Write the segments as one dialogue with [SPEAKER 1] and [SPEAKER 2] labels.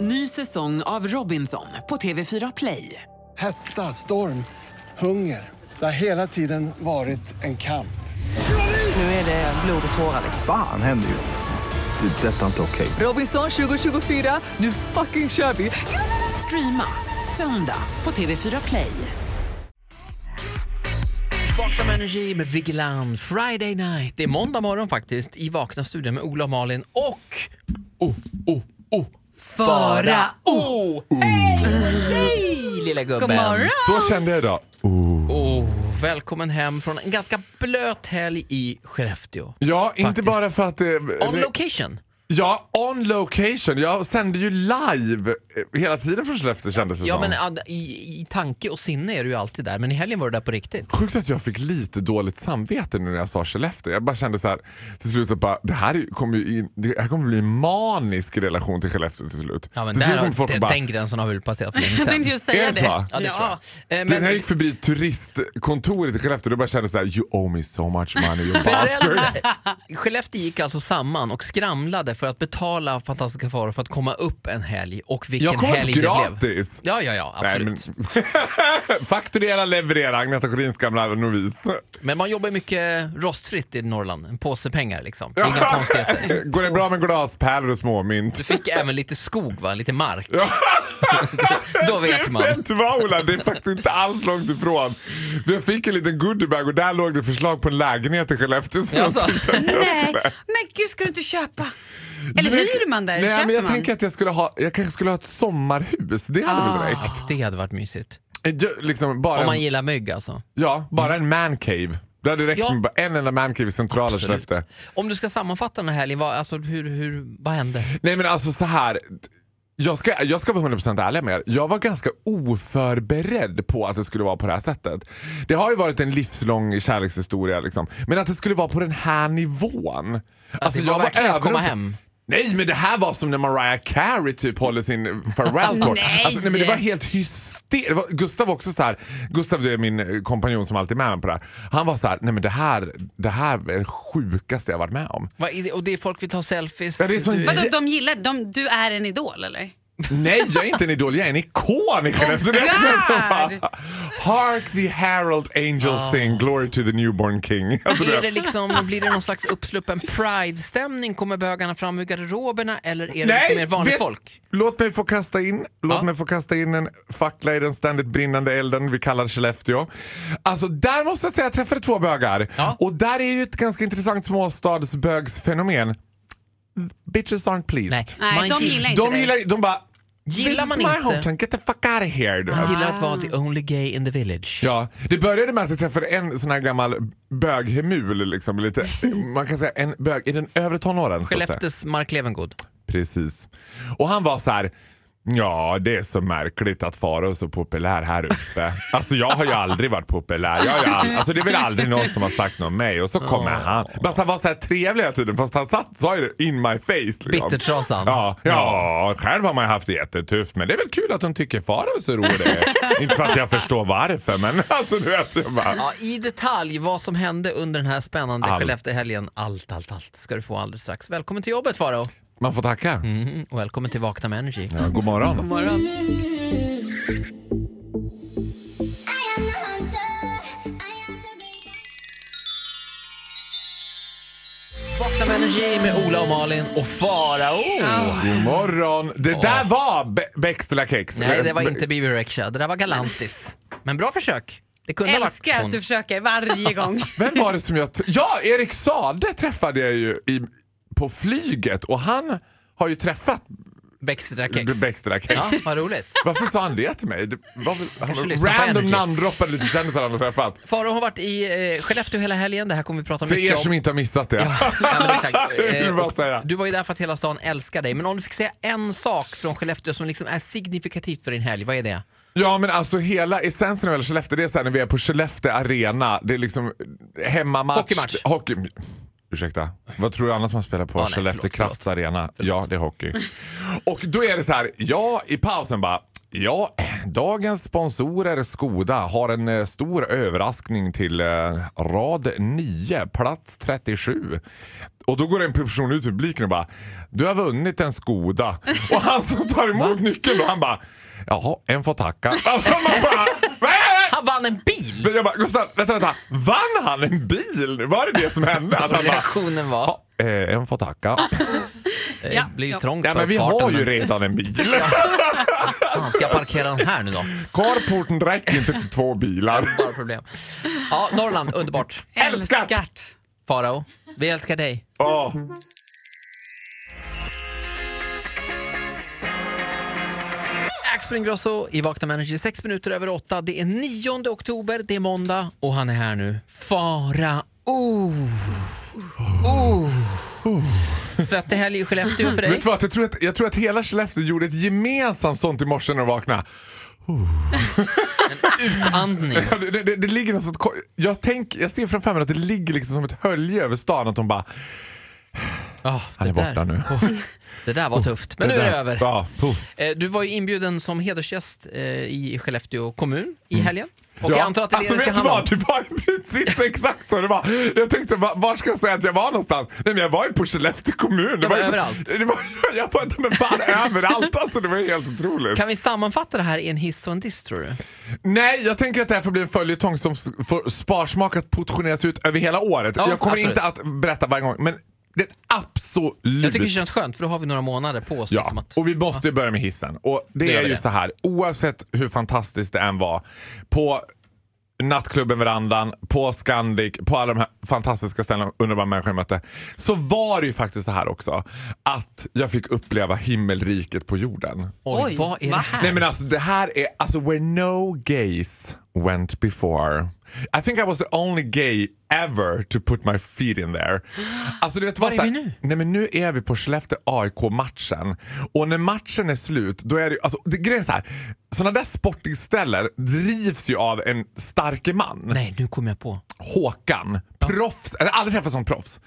[SPEAKER 1] Ny säsong av Robinson på TV4 Play.
[SPEAKER 2] Hetta, storm, hunger. Det har hela tiden varit en kamp.
[SPEAKER 1] Nu är det blod och tårar.
[SPEAKER 3] Fan händer just nu. Det. är Detta är inte okej.
[SPEAKER 1] Robinson 2024, nu fucking kör vi! Streama söndag på TV4 Play.
[SPEAKER 4] Vakna med energi med Vigilan Friday night. Det är måndag morgon faktiskt i Vakna studion med Ola och Malin och... Oh, oh, oh. Fara Oh! Hej! Hej lilla gubben!
[SPEAKER 5] God morgon!
[SPEAKER 6] Så kände jag idag.
[SPEAKER 4] Oh, välkommen hem från en ganska blöt helg i Skellefteå.
[SPEAKER 6] Ja, inte
[SPEAKER 4] Faktiskt.
[SPEAKER 6] bara för att... Eh,
[SPEAKER 4] On
[SPEAKER 6] eh,
[SPEAKER 4] location!
[SPEAKER 6] Ja, on location. Jag sände ju live eh, hela tiden från Skellefteå kändes det
[SPEAKER 4] Ja
[SPEAKER 6] som.
[SPEAKER 4] men ad- i, i tanke och sinne är du ju alltid där, men i helgen var du där på riktigt.
[SPEAKER 6] Sjukt att jag fick lite dåligt samvete nu när jag sa Skellefteå. Jag bara kände så här till slut att bara, det här är- kommer ju in, det här kommer bli en manisk relation till Skellefteå till slut.
[SPEAKER 4] Ja, men
[SPEAKER 6] till slut
[SPEAKER 4] där,
[SPEAKER 6] kommer folk
[SPEAKER 4] den,
[SPEAKER 6] bara,
[SPEAKER 4] den gränsen har vi väl passerat för länge
[SPEAKER 5] Jag
[SPEAKER 4] sedan.
[SPEAKER 5] tänkte just säga
[SPEAKER 6] Är det
[SPEAKER 5] det.
[SPEAKER 6] så?
[SPEAKER 4] Ja, det tror jag. Eh,
[SPEAKER 6] Men när jag gick förbi turistkontoret i Skellefteå då bara kände jag så här, you owe me so much money you bastards.
[SPEAKER 4] Föräldrar, Skellefteå gick alltså samman och skramlade för att betala fantastiska faror för att komma upp en helg och vilken
[SPEAKER 6] Jag kom
[SPEAKER 4] helg det blev.
[SPEAKER 6] gratis!
[SPEAKER 4] Ja, ja, ja, absolut. men...
[SPEAKER 6] Fakturera, leverera, Agneta Sjödins gamla novis.
[SPEAKER 4] man jobbar mycket rostfritt i Norrland, en påse pengar liksom. Det är Inga konstigheter.
[SPEAKER 6] Går det bra med glaspärlor och småmynt?
[SPEAKER 4] Du fick även lite skog va, lite mark. Då vet man.
[SPEAKER 6] Vet du vad Ola, det är faktiskt inte alls långt ifrån. Jag fick en liten goodiebag och där låg det förslag på en lägenhet i Skellefteå som
[SPEAKER 4] Alltså.
[SPEAKER 6] jag tyckte att jag
[SPEAKER 5] Nej,
[SPEAKER 6] skulle...
[SPEAKER 5] men gud ska du inte köpa? Eller
[SPEAKER 6] Men-
[SPEAKER 5] hyr man där?
[SPEAKER 6] Nej,
[SPEAKER 5] köper
[SPEAKER 6] men jag
[SPEAKER 5] man?
[SPEAKER 6] tänker att jag, skulle ha, jag kanske skulle ha ett sommarhus. Det hade väl
[SPEAKER 5] Ah.
[SPEAKER 6] räckt?
[SPEAKER 4] Det hade varit mysigt.
[SPEAKER 6] Jag- Liksom bara,
[SPEAKER 4] Om man
[SPEAKER 6] en,
[SPEAKER 4] gillar mygg alltså.
[SPEAKER 6] ja, bara en mancave. Det hade räckt
[SPEAKER 4] Ja.
[SPEAKER 6] med bara en enda mancave i centrala
[SPEAKER 4] Absolut.
[SPEAKER 6] Skellefteå.
[SPEAKER 4] Om du ska sammanfatta den här helgen, vad, alltså, hur, hur, vad hände?
[SPEAKER 6] Nej men alltså så här. Jag ska, jag ska vara 100% ärlig med er. Jag var ganska oförberedd på att det skulle vara på det här sättet. Det har ju varit en livslång kärlekshistoria liksom. Men att det skulle vara på den här nivån. Alltså,
[SPEAKER 4] det var verkligen att
[SPEAKER 6] överrumplad.
[SPEAKER 4] komma hem.
[SPEAKER 6] Nej men det här var som när Mariah Carey typ håller sin farewell tour.
[SPEAKER 5] Nej.
[SPEAKER 6] Alltså, nej men det var helt hysteriskt. Gustav var också så här. Gustav det är min eh, kompanjon som alltid är med mig på det här. Han var så här, nej men det här, det här är det sjukaste jag varit med om.
[SPEAKER 4] Vad är det? Och det är folk vill ta selfies.
[SPEAKER 6] Ja, det är så
[SPEAKER 4] Du-
[SPEAKER 5] Vadå, de gillar, de, du är en idol eller?
[SPEAKER 6] Nej, jag är inte en idol, jag är en ikon i
[SPEAKER 4] Oh
[SPEAKER 6] Skellefteå. Det är som
[SPEAKER 5] God!
[SPEAKER 6] en- Hark the Herald Angels sing, glory to the newborn king. Alltså
[SPEAKER 4] Är
[SPEAKER 6] det,
[SPEAKER 4] Ah. det liksom, blir det någon slags uppsluppen pride-stämning? Kommer bögarna fram ur garderoberna eller är det liksom mer vanligt
[SPEAKER 6] vet-
[SPEAKER 4] folk?
[SPEAKER 6] Låt mig få kasta in Låt
[SPEAKER 4] Ja.
[SPEAKER 6] mig få kasta in en fackla i den ständigt brinnande elden vi kallar Skellefteå. Alltså där måste jag säga jag träffade två bögar.
[SPEAKER 4] Ja.
[SPEAKER 6] Och där är ju ett ganska intressant småstadsbögsfenomen. Bitches aren't pleased.
[SPEAKER 4] Nej,
[SPEAKER 5] Nej,
[SPEAKER 4] man
[SPEAKER 5] de
[SPEAKER 4] gill-
[SPEAKER 5] gillar inte
[SPEAKER 6] De
[SPEAKER 5] dig.
[SPEAKER 6] gillar, de bara
[SPEAKER 4] Gillar
[SPEAKER 6] This
[SPEAKER 4] man
[SPEAKER 6] is my
[SPEAKER 4] inte-
[SPEAKER 6] hometown, get the fuck out of here. Du.
[SPEAKER 4] man gillar att vara the only gay in the village.
[SPEAKER 6] Ja, det började med att jag träffade en sån här gammal böghemul, liksom, lite, man kan säga en bög i den övre tonåren. så att säga.
[SPEAKER 4] Skellefteås Mark Levengood.
[SPEAKER 6] Precis. Och han var så här. Ja, det är så märkligt att Farao är så populär här uppe. Alltså jag har ju aldrig varit populär. Jag har ju all... alltså, det är väl aldrig någon som har sagt något om mig. Och så kommer han. Fast han var så här trevlig hela tiden. Fast han satt, sa ju det in my face. Liksom.
[SPEAKER 4] Bittertrasan.
[SPEAKER 6] Ja, ja, själv har man ju haft det jättetufft. Men det är väl kul att de tycker Farao är så rolig. Inte för att jag förstår varför, men alltså du vet. Jag bara...
[SPEAKER 4] Ja, I detalj vad som hände under den här spännande
[SPEAKER 6] Allt.
[SPEAKER 4] Skellefteåhelgen. Allt, allt, allt ska du få alldeles strax. Välkommen till jobbet Faro.
[SPEAKER 6] Man får tacka.
[SPEAKER 4] Mm, och välkommen till Vakna med Energy.
[SPEAKER 6] Ja, god morgon.
[SPEAKER 5] Morgon.
[SPEAKER 4] Vakna med Energy med Ola och Malin och Farao.
[SPEAKER 6] God morgon. Det där var Be- Bextela kex.
[SPEAKER 4] Nej, det var
[SPEAKER 6] Be-
[SPEAKER 4] inte Bibi Rexha. Det där var Galantis. Men bra försök. Det kunde ha varit
[SPEAKER 5] Älskar
[SPEAKER 4] hon.
[SPEAKER 5] att du försöker varje gång.
[SPEAKER 6] Vem var det som jag... tr- Ja, Erik Sade träffade jag ju i, på flyget och han har ju träffat
[SPEAKER 4] Bextra
[SPEAKER 6] Be-
[SPEAKER 4] Kex.
[SPEAKER 6] Bextela kex.
[SPEAKER 4] Ja, vad roligt.
[SPEAKER 6] Varför sa han det till mig? Det var väl,
[SPEAKER 4] Kanske
[SPEAKER 6] han
[SPEAKER 4] lyssnar på
[SPEAKER 6] random
[SPEAKER 4] Energy.
[SPEAKER 6] namndroppade lite kändisar han har träffat.
[SPEAKER 4] Faro har varit i eh, Skellefteå hela helgen. Det här kommer vi prata
[SPEAKER 6] För
[SPEAKER 4] mycket
[SPEAKER 6] er
[SPEAKER 4] om.
[SPEAKER 6] som inte har missat det.
[SPEAKER 4] Ja, men exakt. Eh,
[SPEAKER 6] Det vill jag bara
[SPEAKER 4] och
[SPEAKER 6] säga.
[SPEAKER 4] du var ju där för att hela stan älskar dig. Men om du fick säga en sak från Skellefteå som liksom är signifikativt för din helg, vad är det?
[SPEAKER 6] Ja men alltså hela essensen av hela Skellefteå, det är såhär när vi är på Skellefteå arena, det är liksom hemmamatch.
[SPEAKER 4] Hockeymatch.
[SPEAKER 6] Hockey. Ursäkta, vad tror du annars man spelar på
[SPEAKER 4] Ah, nej,
[SPEAKER 6] Skellefteå
[SPEAKER 4] förlåt,
[SPEAKER 6] Krafts arena? Ja, det är hockey. Och då är det så här, ja i pausen bara, ja dagens sponsorer Skoda har en eh, stor överraskning till eh, rad 9, plats 37. Och då går en person ut i publiken och bara Du har vunnit en Skoda. Och han som tar emot nyckeln då, han bara Jaha, en får tacka. Alltså man bara "Va?"
[SPEAKER 4] Han vann en bil!
[SPEAKER 6] Jag bara Gustav, vänta, vänta. Vann han en bil? Var det det som hände? Att han bara,
[SPEAKER 4] Reaktionen var...
[SPEAKER 6] "Ja, eh, en får tacka.
[SPEAKER 4] Det
[SPEAKER 5] Ja,
[SPEAKER 4] blir ju
[SPEAKER 5] ja.
[SPEAKER 4] trångt
[SPEAKER 6] Ja,
[SPEAKER 4] på
[SPEAKER 6] men vi
[SPEAKER 4] uppfarten,
[SPEAKER 6] har ju
[SPEAKER 4] men
[SPEAKER 6] redan en bil.
[SPEAKER 4] fan, Ska jag parkera den här nu då?
[SPEAKER 6] Carporten räcker inte till två bilar.
[SPEAKER 4] Bara problem. Ja, Norrland, underbart.
[SPEAKER 6] Älskat!
[SPEAKER 5] Älskat.
[SPEAKER 4] Farao, vi älskar dig.
[SPEAKER 6] Åh.
[SPEAKER 4] Axel Ingrosso i Vakna med Energy, sex minuter över åtta. Det är 9 oktober, det är måndag och han är här nu. Farao! Oh.
[SPEAKER 6] Oh.
[SPEAKER 4] Svettig helg i Skellefteå för dig.
[SPEAKER 6] Vet du vad? Jag tror, att, jag tror att hela Skellefteå gjorde ett gemensamt sånt i morse när de vaknade.
[SPEAKER 4] Andning.
[SPEAKER 6] Ja, Det, det, det, det ligger något sånt, ko- jag, tänk, jag ser framför mig att det ligger liksom som ett hölje över stan. Att de bara,
[SPEAKER 4] Ja,
[SPEAKER 6] Han
[SPEAKER 4] det
[SPEAKER 6] är borta
[SPEAKER 4] där.
[SPEAKER 6] nu.
[SPEAKER 4] Oh, Det där var tufft, men nu är det
[SPEAKER 6] där-
[SPEAKER 4] över.
[SPEAKER 6] Ja, puh.
[SPEAKER 4] Eh, Du var ju inbjuden som hedersgäst eh, i Skellefteå kommun i helgen. Och
[SPEAKER 6] Mm. ja.
[SPEAKER 4] jag antar att det är det
[SPEAKER 6] alltså,
[SPEAKER 4] det
[SPEAKER 6] vet
[SPEAKER 4] ska
[SPEAKER 6] du
[SPEAKER 4] handla om.
[SPEAKER 6] vad? Det var precis exakt så det var. Jag tänkte, va- var ska jag säga att jag var någonstans? Nej men jag var ju på Skellefteå kommun. Det
[SPEAKER 4] Ja,
[SPEAKER 6] var
[SPEAKER 4] men
[SPEAKER 6] ju så-
[SPEAKER 4] överallt.
[SPEAKER 6] Det var, jag var men fan överallt alltså. Det var ju helt otroligt.
[SPEAKER 4] Kan vi sammanfatta det här i en hiss och en diss tror du?
[SPEAKER 6] Nej, jag tänker att det här får bli en följetong som s- får sparsmakat portioneras ut över hela året.
[SPEAKER 4] Ja,
[SPEAKER 6] jag kommer
[SPEAKER 4] absolut.
[SPEAKER 6] inte att berätta varje gång, men den absolut
[SPEAKER 4] Jag tycker det känns skönt för då har vi några månader på oss.
[SPEAKER 6] Ja,
[SPEAKER 4] liksom att...
[SPEAKER 6] och vi måste ju börja med hissen. Och det,
[SPEAKER 4] gör
[SPEAKER 6] är
[SPEAKER 4] vi
[SPEAKER 6] ju
[SPEAKER 4] det.
[SPEAKER 6] så här, oavsett hur fantastiskt det än var, på nattklubben Verandan, på Scandic, på alla de här fantastiska ställena, underbara människor jag mötte, så var det ju faktiskt så här också, att jag fick uppleva himmelriket på jorden.
[SPEAKER 4] Oj,
[SPEAKER 5] Oj,
[SPEAKER 4] vad är
[SPEAKER 5] va?
[SPEAKER 4] det här?
[SPEAKER 6] Nej men alltså det här är, alltså where no gays went before. I think I was the only gay ever to put my feet in there. Alltså, du vet,
[SPEAKER 4] Var
[SPEAKER 6] vad
[SPEAKER 4] är
[SPEAKER 6] så
[SPEAKER 4] vi
[SPEAKER 6] här-
[SPEAKER 4] nu?
[SPEAKER 6] Nej men nu är vi på Skellefteå AIK-matchen. Och när matchen är slut, då är det alltså, det, grejen är så här. Sådana där sportingställen drivs ju av en starke man.
[SPEAKER 4] Nej, nu kom jag på.
[SPEAKER 6] Håkan. Proffs. Jag har aldrig träffat sån proffs.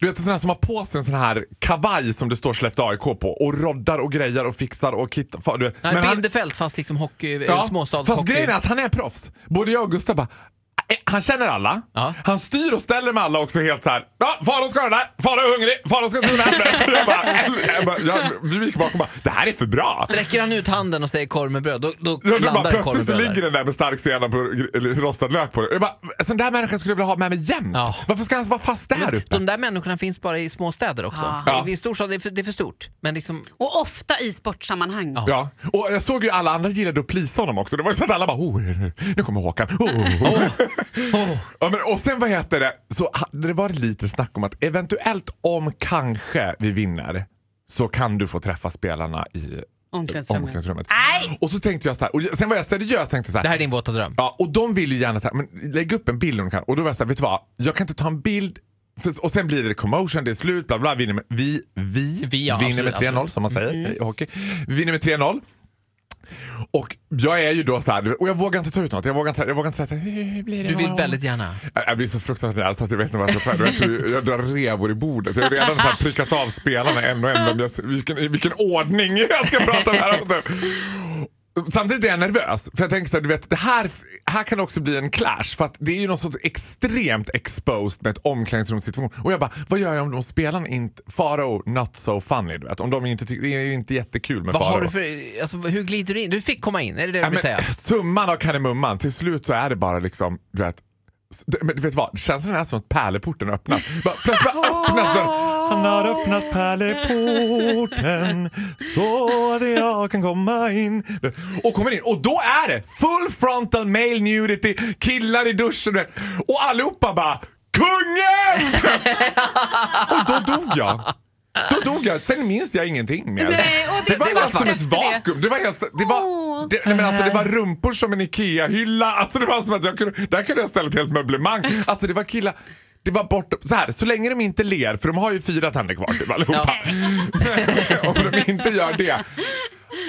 [SPEAKER 6] Du vet en sån här som har på sig en sån här kavaj som det står Skellefteå AIK på och roddar och grejar och fixar och kittar. Fan, Du vet.
[SPEAKER 4] Nej,
[SPEAKER 6] Men han-
[SPEAKER 4] Bindefält fast liksom hockey, eh, småstadshockey.
[SPEAKER 6] Fast grejen är att han är proffs. Både jag och Gustav bara, eh, han känner alla.
[SPEAKER 4] Ja.
[SPEAKER 6] Han styr och ställer med alla också helt så här. Ja, Farao ska ha den där, Farao är hungrig, Farao ska till den här." Jag bara, "Äl- jag bara, jag, Vi gick bakom och bara, det här är för bra.
[SPEAKER 4] Sträcker han ut handen och säger korv med bröd, då, då
[SPEAKER 6] Ja, du bara,
[SPEAKER 4] landar korv
[SPEAKER 6] plötsligt
[SPEAKER 4] med
[SPEAKER 6] så
[SPEAKER 4] bröd
[SPEAKER 6] ligger
[SPEAKER 4] där.
[SPEAKER 6] den där med stark senap och gr- eller rostad lök på det. Jag bara, en sån där människa skulle jag vilja ha med mig jämt.
[SPEAKER 4] Ja.
[SPEAKER 6] Varför ska han vara fast där uppe?
[SPEAKER 4] De där människorna finns bara i små städer också.
[SPEAKER 6] Ja.
[SPEAKER 4] I, I storstad är för, det är för stort. Men liksom,
[SPEAKER 5] Och ofta i sportsammanhang.
[SPEAKER 6] Ja, och jag såg ju alla andra gillade att plisa honom också. Det var ju så att alla bara oh, nu kommer Håkan. Oh, oh, oh. Ja, men, och sen vad heter det, så ha- det var lite snack om att eventuellt om kanske vi vinner så kan du få träffa spelarna i
[SPEAKER 5] Omklädningsrummet.
[SPEAKER 6] omklädningsrummet.
[SPEAKER 5] Nej!
[SPEAKER 6] Och så tänkte jag så här, och jag- sen var jag seriös och tänkte så här,
[SPEAKER 4] det här är din våta dröm.
[SPEAKER 6] Ja, och de vill ju gärna så här, men lägg upp en bild om du kan. Och då var jag så här, vet du vad? Jag kan inte ta en bild för, och sen blir det commotion, det är slut, bla bla. Vinner med, vi vi,
[SPEAKER 4] Vi, ja,
[SPEAKER 6] vinner
[SPEAKER 4] absolut,
[SPEAKER 6] med 3-0 som man säger i hockey. Vi vinner med 3-0. Och jag är ju då så här, och jag vågar inte ta ut något. Jag vågar inte, jag vågar inte säga så här, hur, hur blir det?
[SPEAKER 4] Du vill
[SPEAKER 6] då?"
[SPEAKER 4] väldigt gärna.
[SPEAKER 6] Jag jag blir så fruktansvärt rädd så att jag vet inte vad jag ska ta. Du vet, hur Jag drar revor i bordet. Jag har redan så här prickat av spelarna en och en. Vem jag, vilken, I vilken ordning jag ska prata med här. också. Samtidigt är jag nervös. För jag tänker så här, du vet, det här, här kan det också bli en clash. För att det är ju någon sorts extremt exposed med ett omklädningsrumssituation. Och jag bara, vad gör jag om de spelarna inte... Farao, not so funny. Du vet. Om de inte tycker, det är ju inte jättekul med
[SPEAKER 4] Vad
[SPEAKER 6] Farao.
[SPEAKER 4] har du för, alltså, hur glider du in? Du fick komma in, är det det du
[SPEAKER 6] Ja,
[SPEAKER 4] vill säga?
[SPEAKER 6] men, summan av kardemumman, till slut så är det bara liksom, du vet. s- det- Men du vet vad, känslan är som att pärleporten öppnas. Bara, plötsligt bara öppnas den. Han har öppnat pärleporten så att jag kan komma in. Och kommer in och då är det full frontal male nudity, killar i duschen du vet. och allihopa bara Kungen! och då dog jag. Då dog jag. Sen minns jag ingenting mer.
[SPEAKER 5] Nej, och det
[SPEAKER 6] det var
[SPEAKER 5] är
[SPEAKER 6] bara
[SPEAKER 5] svart
[SPEAKER 6] som ett
[SPEAKER 5] efter det.
[SPEAKER 6] vakuum. Det var helt... Det var,
[SPEAKER 5] Åh.
[SPEAKER 6] det, nej men alltså, det var rumpor som en IKEA-hylla. Alltså, det var som att jag kunde, där kunde jag ställa ett helt möblemang. Alltså det var killar... Det var bort, så här, så länge de inte ler, för de har ju fyra tänder kvar typ allihopa. Om de inte gör det.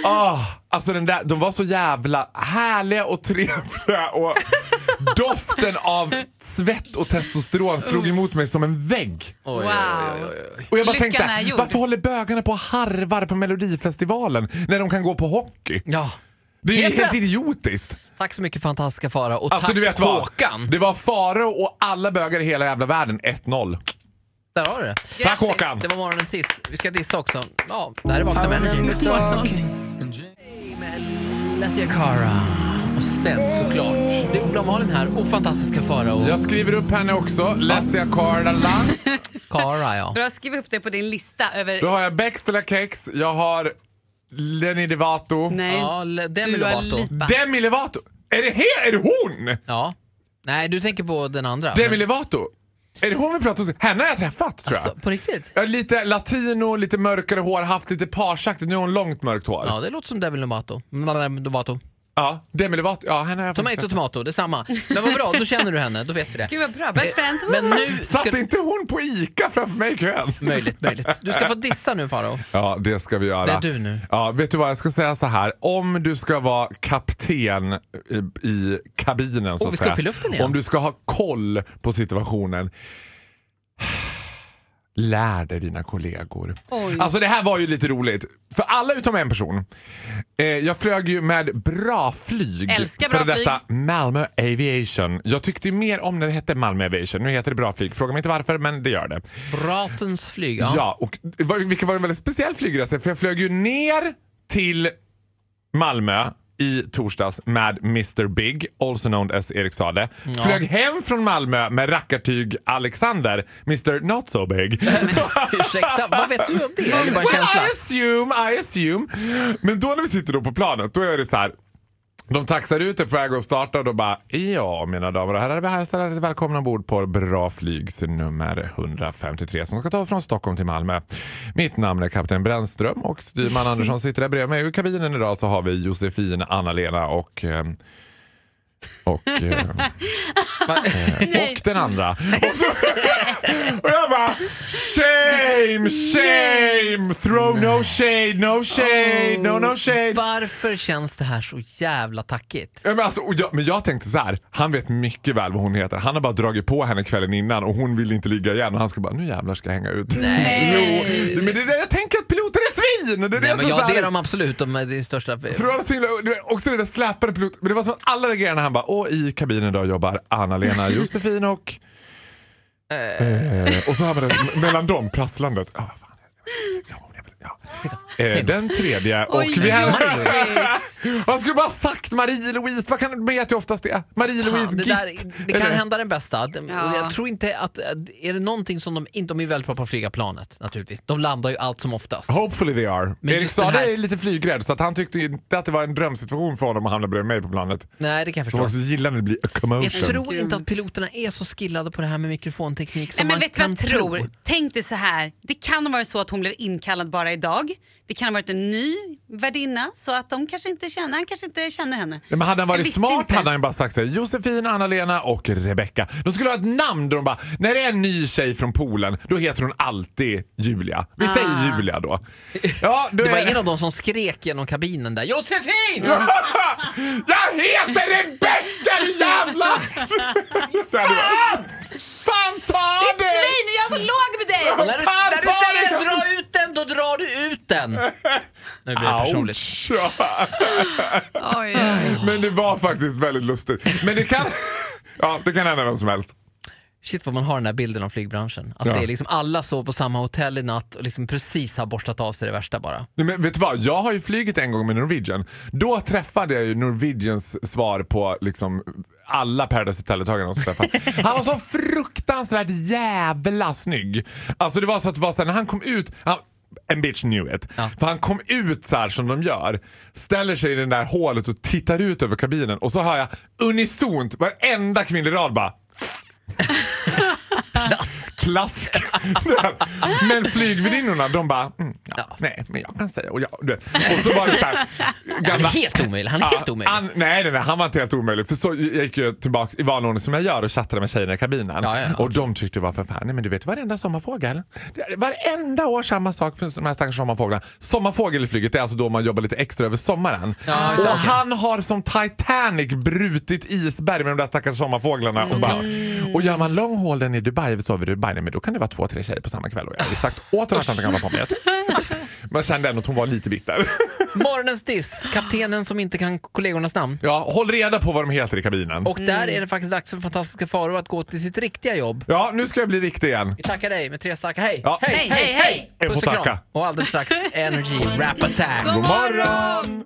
[SPEAKER 6] ah alltså den där, de var så jävla härliga och trevliga och doften av svett och testosteron slog emot mig som en vägg.
[SPEAKER 4] Oj,
[SPEAKER 5] Wow.
[SPEAKER 4] oj, oj, oj, oj.
[SPEAKER 6] Och jag bara
[SPEAKER 5] Lyckan
[SPEAKER 6] tänkte
[SPEAKER 5] är
[SPEAKER 6] såhär,
[SPEAKER 5] gjord.
[SPEAKER 6] varför håller bögarna på och harvar på Melodifestivalen när de kan gå på hockey?
[SPEAKER 4] Ja.
[SPEAKER 6] Det är ju
[SPEAKER 4] Helt
[SPEAKER 6] helt
[SPEAKER 4] rätt.
[SPEAKER 6] idiotiskt.
[SPEAKER 4] Tack så mycket fantastiska Farao och
[SPEAKER 6] Alltså,
[SPEAKER 4] tack
[SPEAKER 6] du vet vad?
[SPEAKER 4] Håkan.
[SPEAKER 6] Det var Farao och alla bögar i hela jävla världen 1-0.
[SPEAKER 4] Där har du det.
[SPEAKER 6] Tack Håkan!
[SPEAKER 4] Det var morgonens hiss. Vi ska dissa också. Ja, det här är Vakna med Energy. med Alessia Cara. Och sen såklart, det är Ola och Malin här och fantastiska Farao.
[SPEAKER 6] Jag skriver upp henne också. Lessia Cardalan.
[SPEAKER 4] Cara ja.
[SPEAKER 5] Du har skrivit upp det på din lista över...
[SPEAKER 6] Då har jag Bextela Kex. Jag har Lenny Devato.
[SPEAKER 5] Nej,
[SPEAKER 4] Ja, Le- Demi
[SPEAKER 5] du har
[SPEAKER 4] Lovato.
[SPEAKER 5] Lipa.
[SPEAKER 6] Demi Levato! Är det, he- är det hon?
[SPEAKER 4] Ja. Nej, du tänker på den andra.
[SPEAKER 6] Demi
[SPEAKER 4] men-
[SPEAKER 6] Levato? Är det hon vi pratar om? Henne har jag träffat tror jag.
[SPEAKER 4] alltså, på riktigt?
[SPEAKER 6] Ja, Lite latino, lite mörkare hår, haft lite parsaktigt. Nu har hon långt mörkt hår.
[SPEAKER 4] Ja, det låter som Demi Lovato. Mm, Lovato.
[SPEAKER 6] Ja, Demi Levato. Ja, henne har jag
[SPEAKER 4] Tomato,
[SPEAKER 6] faktiskt-
[SPEAKER 4] tomato, det är samma. Men vad bra, då känner du henne, då vet vi det.
[SPEAKER 5] Gud vad bra, best friends.
[SPEAKER 4] Men nu ska
[SPEAKER 6] Satt inte hon på ICA framför mig i kön?
[SPEAKER 4] Möjligt, möjligt. Du ska få dissa nu Farao.
[SPEAKER 6] Ja, det ska vi göra.
[SPEAKER 4] Det är du nu.
[SPEAKER 6] Ja, vet du vad, jag ska säga så här. Om du ska vara kapten i, i kabinen så
[SPEAKER 4] Och vi
[SPEAKER 6] att
[SPEAKER 4] ska
[SPEAKER 6] säga.
[SPEAKER 4] upp i luften igen.
[SPEAKER 6] Om du ska ha koll på situationen. Lär dig dina kollegor.
[SPEAKER 5] Oj.
[SPEAKER 6] Alltså det här var ju lite roligt. För alla utom en person. Eh, jag flög ju med bra flyg.
[SPEAKER 5] Älskar
[SPEAKER 6] för
[SPEAKER 5] Bra
[SPEAKER 6] detta Malmö Aviation. Jag tyckte ju mer om när det hette Malmö Aviation. Nu heter det bra flyg. Fråga mig inte varför men det gör det.
[SPEAKER 4] Bratens flyg. Ja.
[SPEAKER 6] Ja, och det var- vilket var en väldigt speciell flygresa för jag flög ju ner till Malmö i torsdags med Mr Big, also known as Erik Sade. Flög hem från Malmö med rackartyg Alexander, Mr Not So Big.
[SPEAKER 4] Ursäkta, vad vet du om det? Det är bara en
[SPEAKER 6] Well,
[SPEAKER 4] känsla.
[SPEAKER 6] I assume, I assume. Men då när vi sitter då på planet, då är det så här. De taxar ut är på väg att starta och då bara ja mina damer och herrar, vi hälsar er välkomna ombord på Bra Flygs nummer 153 som ska ta från Stockholm till Malmö. Mitt namn är kapten Brännström och styrman Andersson sitter där bredvid mig. I kabinen idag så har vi Josefin, Anna-Lena och eh, och, eh,
[SPEAKER 4] Va-
[SPEAKER 6] och den andra. Och, så, och jag bara shame, shame, throw no shade, no shade, no
[SPEAKER 4] Oh,
[SPEAKER 6] no shade.
[SPEAKER 4] Varför känns det här så jävla tackigt?
[SPEAKER 6] Ja, Men, alltså, och jag, men jag tänkte så här, han vet mycket väl vad hon heter. Han har bara dragit på henne kvällen innan och hon vill inte ligga igen. Och han ska bara, nu jävlar ska jag hänga ut. Nej. Jo, men det är det jag tänker att piloter är svin! Det är det
[SPEAKER 4] Nej,
[SPEAKER 6] jag
[SPEAKER 4] men
[SPEAKER 6] som så
[SPEAKER 4] ja,
[SPEAKER 6] här-
[SPEAKER 4] det är de absolut. De är det största...
[SPEAKER 6] för det var så himla, det var också det där släpande pilot. Men det var som att alla reagerade när han bara, åh i kabinen idag jobbar Anna-Lena, Josefin och... eh, och så har man det mellan dem, prasslandet. Ah, vad fan, ja, jag vill- ja. Eh, den tredje och
[SPEAKER 5] Oj,
[SPEAKER 6] vi har...
[SPEAKER 5] Marie-Louise.
[SPEAKER 6] Jag skulle bara ha sagt Marie-Louise, vad kan man vet ju oftast det? Marie-Louise
[SPEAKER 4] Fan, det,
[SPEAKER 6] Gitt.
[SPEAKER 4] där, det
[SPEAKER 6] Är
[SPEAKER 4] kan hända den bästa. De- och
[SPEAKER 5] Ja.
[SPEAKER 4] Jag tror inte att, att- är det någonting som de inte, de är ju väldigt bra på att flyga planet naturligtvis. De landar ju allt som oftast.
[SPEAKER 6] Hopefully they are.
[SPEAKER 4] Men
[SPEAKER 6] Erik
[SPEAKER 4] just den
[SPEAKER 6] Saade
[SPEAKER 4] här-
[SPEAKER 6] är lite flygrädd så att han tyckte inte att det var en drömsituation för honom att hamna bredvid mig på planet.
[SPEAKER 4] Nej, det kan jag
[SPEAKER 6] Som
[SPEAKER 4] förstå.
[SPEAKER 6] också gillar när det blir a commotion.
[SPEAKER 4] Jag tror inte att piloterna är så skillade på det här med mikrofonteknik
[SPEAKER 5] Nej,
[SPEAKER 4] som
[SPEAKER 5] men
[SPEAKER 4] man
[SPEAKER 5] vet du vad
[SPEAKER 4] kan
[SPEAKER 5] jag
[SPEAKER 4] tro.
[SPEAKER 5] tror? Tänk dig så här. Det kan ha varit så att hon blev inkallad bara idag. Det kan ha varit en ny värdinna så att de kanske inte känner, han kanske inte känner henne.
[SPEAKER 6] Nej, Men hade han
[SPEAKER 5] Jag
[SPEAKER 6] varit
[SPEAKER 5] visste
[SPEAKER 6] smart
[SPEAKER 5] inte.
[SPEAKER 6] hade han ju bara sagt såhär, Josefin, Anna-Lena och Rebecka. De skulle ha ett namn där de bara, när det är en ny tjej från Polen, då heter hon alltid Julia. Vi säger Julia då. Ja, då
[SPEAKER 4] Det var
[SPEAKER 6] är-
[SPEAKER 4] ingen av dem som skrek genom kabinen där “Josefin!”
[SPEAKER 6] Jag heter Rebecka din jävla! Fan! Fan ta
[SPEAKER 5] Det är ett
[SPEAKER 6] dig!
[SPEAKER 5] svin, det är jag som låg med dig!
[SPEAKER 4] När du,
[SPEAKER 6] Fan,
[SPEAKER 4] när du
[SPEAKER 6] ta
[SPEAKER 4] säger
[SPEAKER 6] det!
[SPEAKER 4] dra ut den, då drar du ut den! Nu blir det personligt.
[SPEAKER 6] Ouch. Ja,
[SPEAKER 5] Oj, oj.
[SPEAKER 6] Men det var faktiskt väldigt lustigt. Men det kan, ja, det kan hända vem som helst.
[SPEAKER 4] Shit vad man har den här bilden av flygbranschen. Att
[SPEAKER 6] Ja.
[SPEAKER 4] det är liksom alla sov på samma hotell i natt och liksom precis har borstat av sig det värsta bara.
[SPEAKER 6] Nej, Men vet du vad, jag har ju flugit en gång med Norwegian. Då träffade jag ju Norwegians svar på liksom alla Paradise Hotel-deltagare som träffat. Han var så fruktansvärt jävla snygg. Alltså det var så att det var så här, när han kom ut, han, en bitch knew it.
[SPEAKER 4] Ja.
[SPEAKER 6] För han kom ut så här som de gör, ställer sig i det där hålet och tittar ut över kabinen och så hör jag unisont varenda kvinnlig rad bara
[SPEAKER 4] Klass!
[SPEAKER 6] klask. men flygvärdinnorna de bara, mm, ja,
[SPEAKER 4] Ja.
[SPEAKER 6] nej men jag kan säga. Och, jag, du vet. och så var det så här,
[SPEAKER 4] Han
[SPEAKER 6] gamla-
[SPEAKER 4] är helt omöjlig, han är helt omöjlig.
[SPEAKER 6] han, nej, nej, nej, han var inte helt omöjlig. För så jag gick ju tillbaka i vanlig ordning som jag gör och chattade med tjejerna i kabinen.
[SPEAKER 4] Ja, ja, ja.
[SPEAKER 6] Och de tyckte det var för fan, nej men du vet varenda sommarfågel. Det- Varenda år samma sak med de här stackars sommarfåglarna. Sommarfågel i flyget det är alltså då man jobbar lite extra över sommaren.
[SPEAKER 4] Ja,
[SPEAKER 6] och
[SPEAKER 4] just det.
[SPEAKER 6] han har som Titanic brutit
[SPEAKER 4] Mm.
[SPEAKER 6] isberg med de där stackars sommarfåglarna. Och, bara, och gör man long haul i Dubai, vi sover i Dubai, nej, men då kan det vara två, tre tre tjejer på samma kväll och jag hade sagt åt henne att han inte kan vara på mig. Man kände ändå att hon var lite bitter.
[SPEAKER 4] Morgonens diss, kaptenen som inte kan kollegornas namn.
[SPEAKER 6] Ja, håll reda på vad de heter i kabinen.
[SPEAKER 4] Och där är det faktiskt dags för fantastiska Faro att gå till sitt riktiga jobb.
[SPEAKER 6] Ja, nu ska jag bli riktig igen.
[SPEAKER 4] Vi tackar dig med tre starka hej!
[SPEAKER 6] Ja.
[SPEAKER 5] Hej, hej, hej!
[SPEAKER 6] Jag får
[SPEAKER 4] Puss och kram!
[SPEAKER 6] tacka.
[SPEAKER 4] Och alldeles strax Energy Rap Attack.
[SPEAKER 5] God morgon!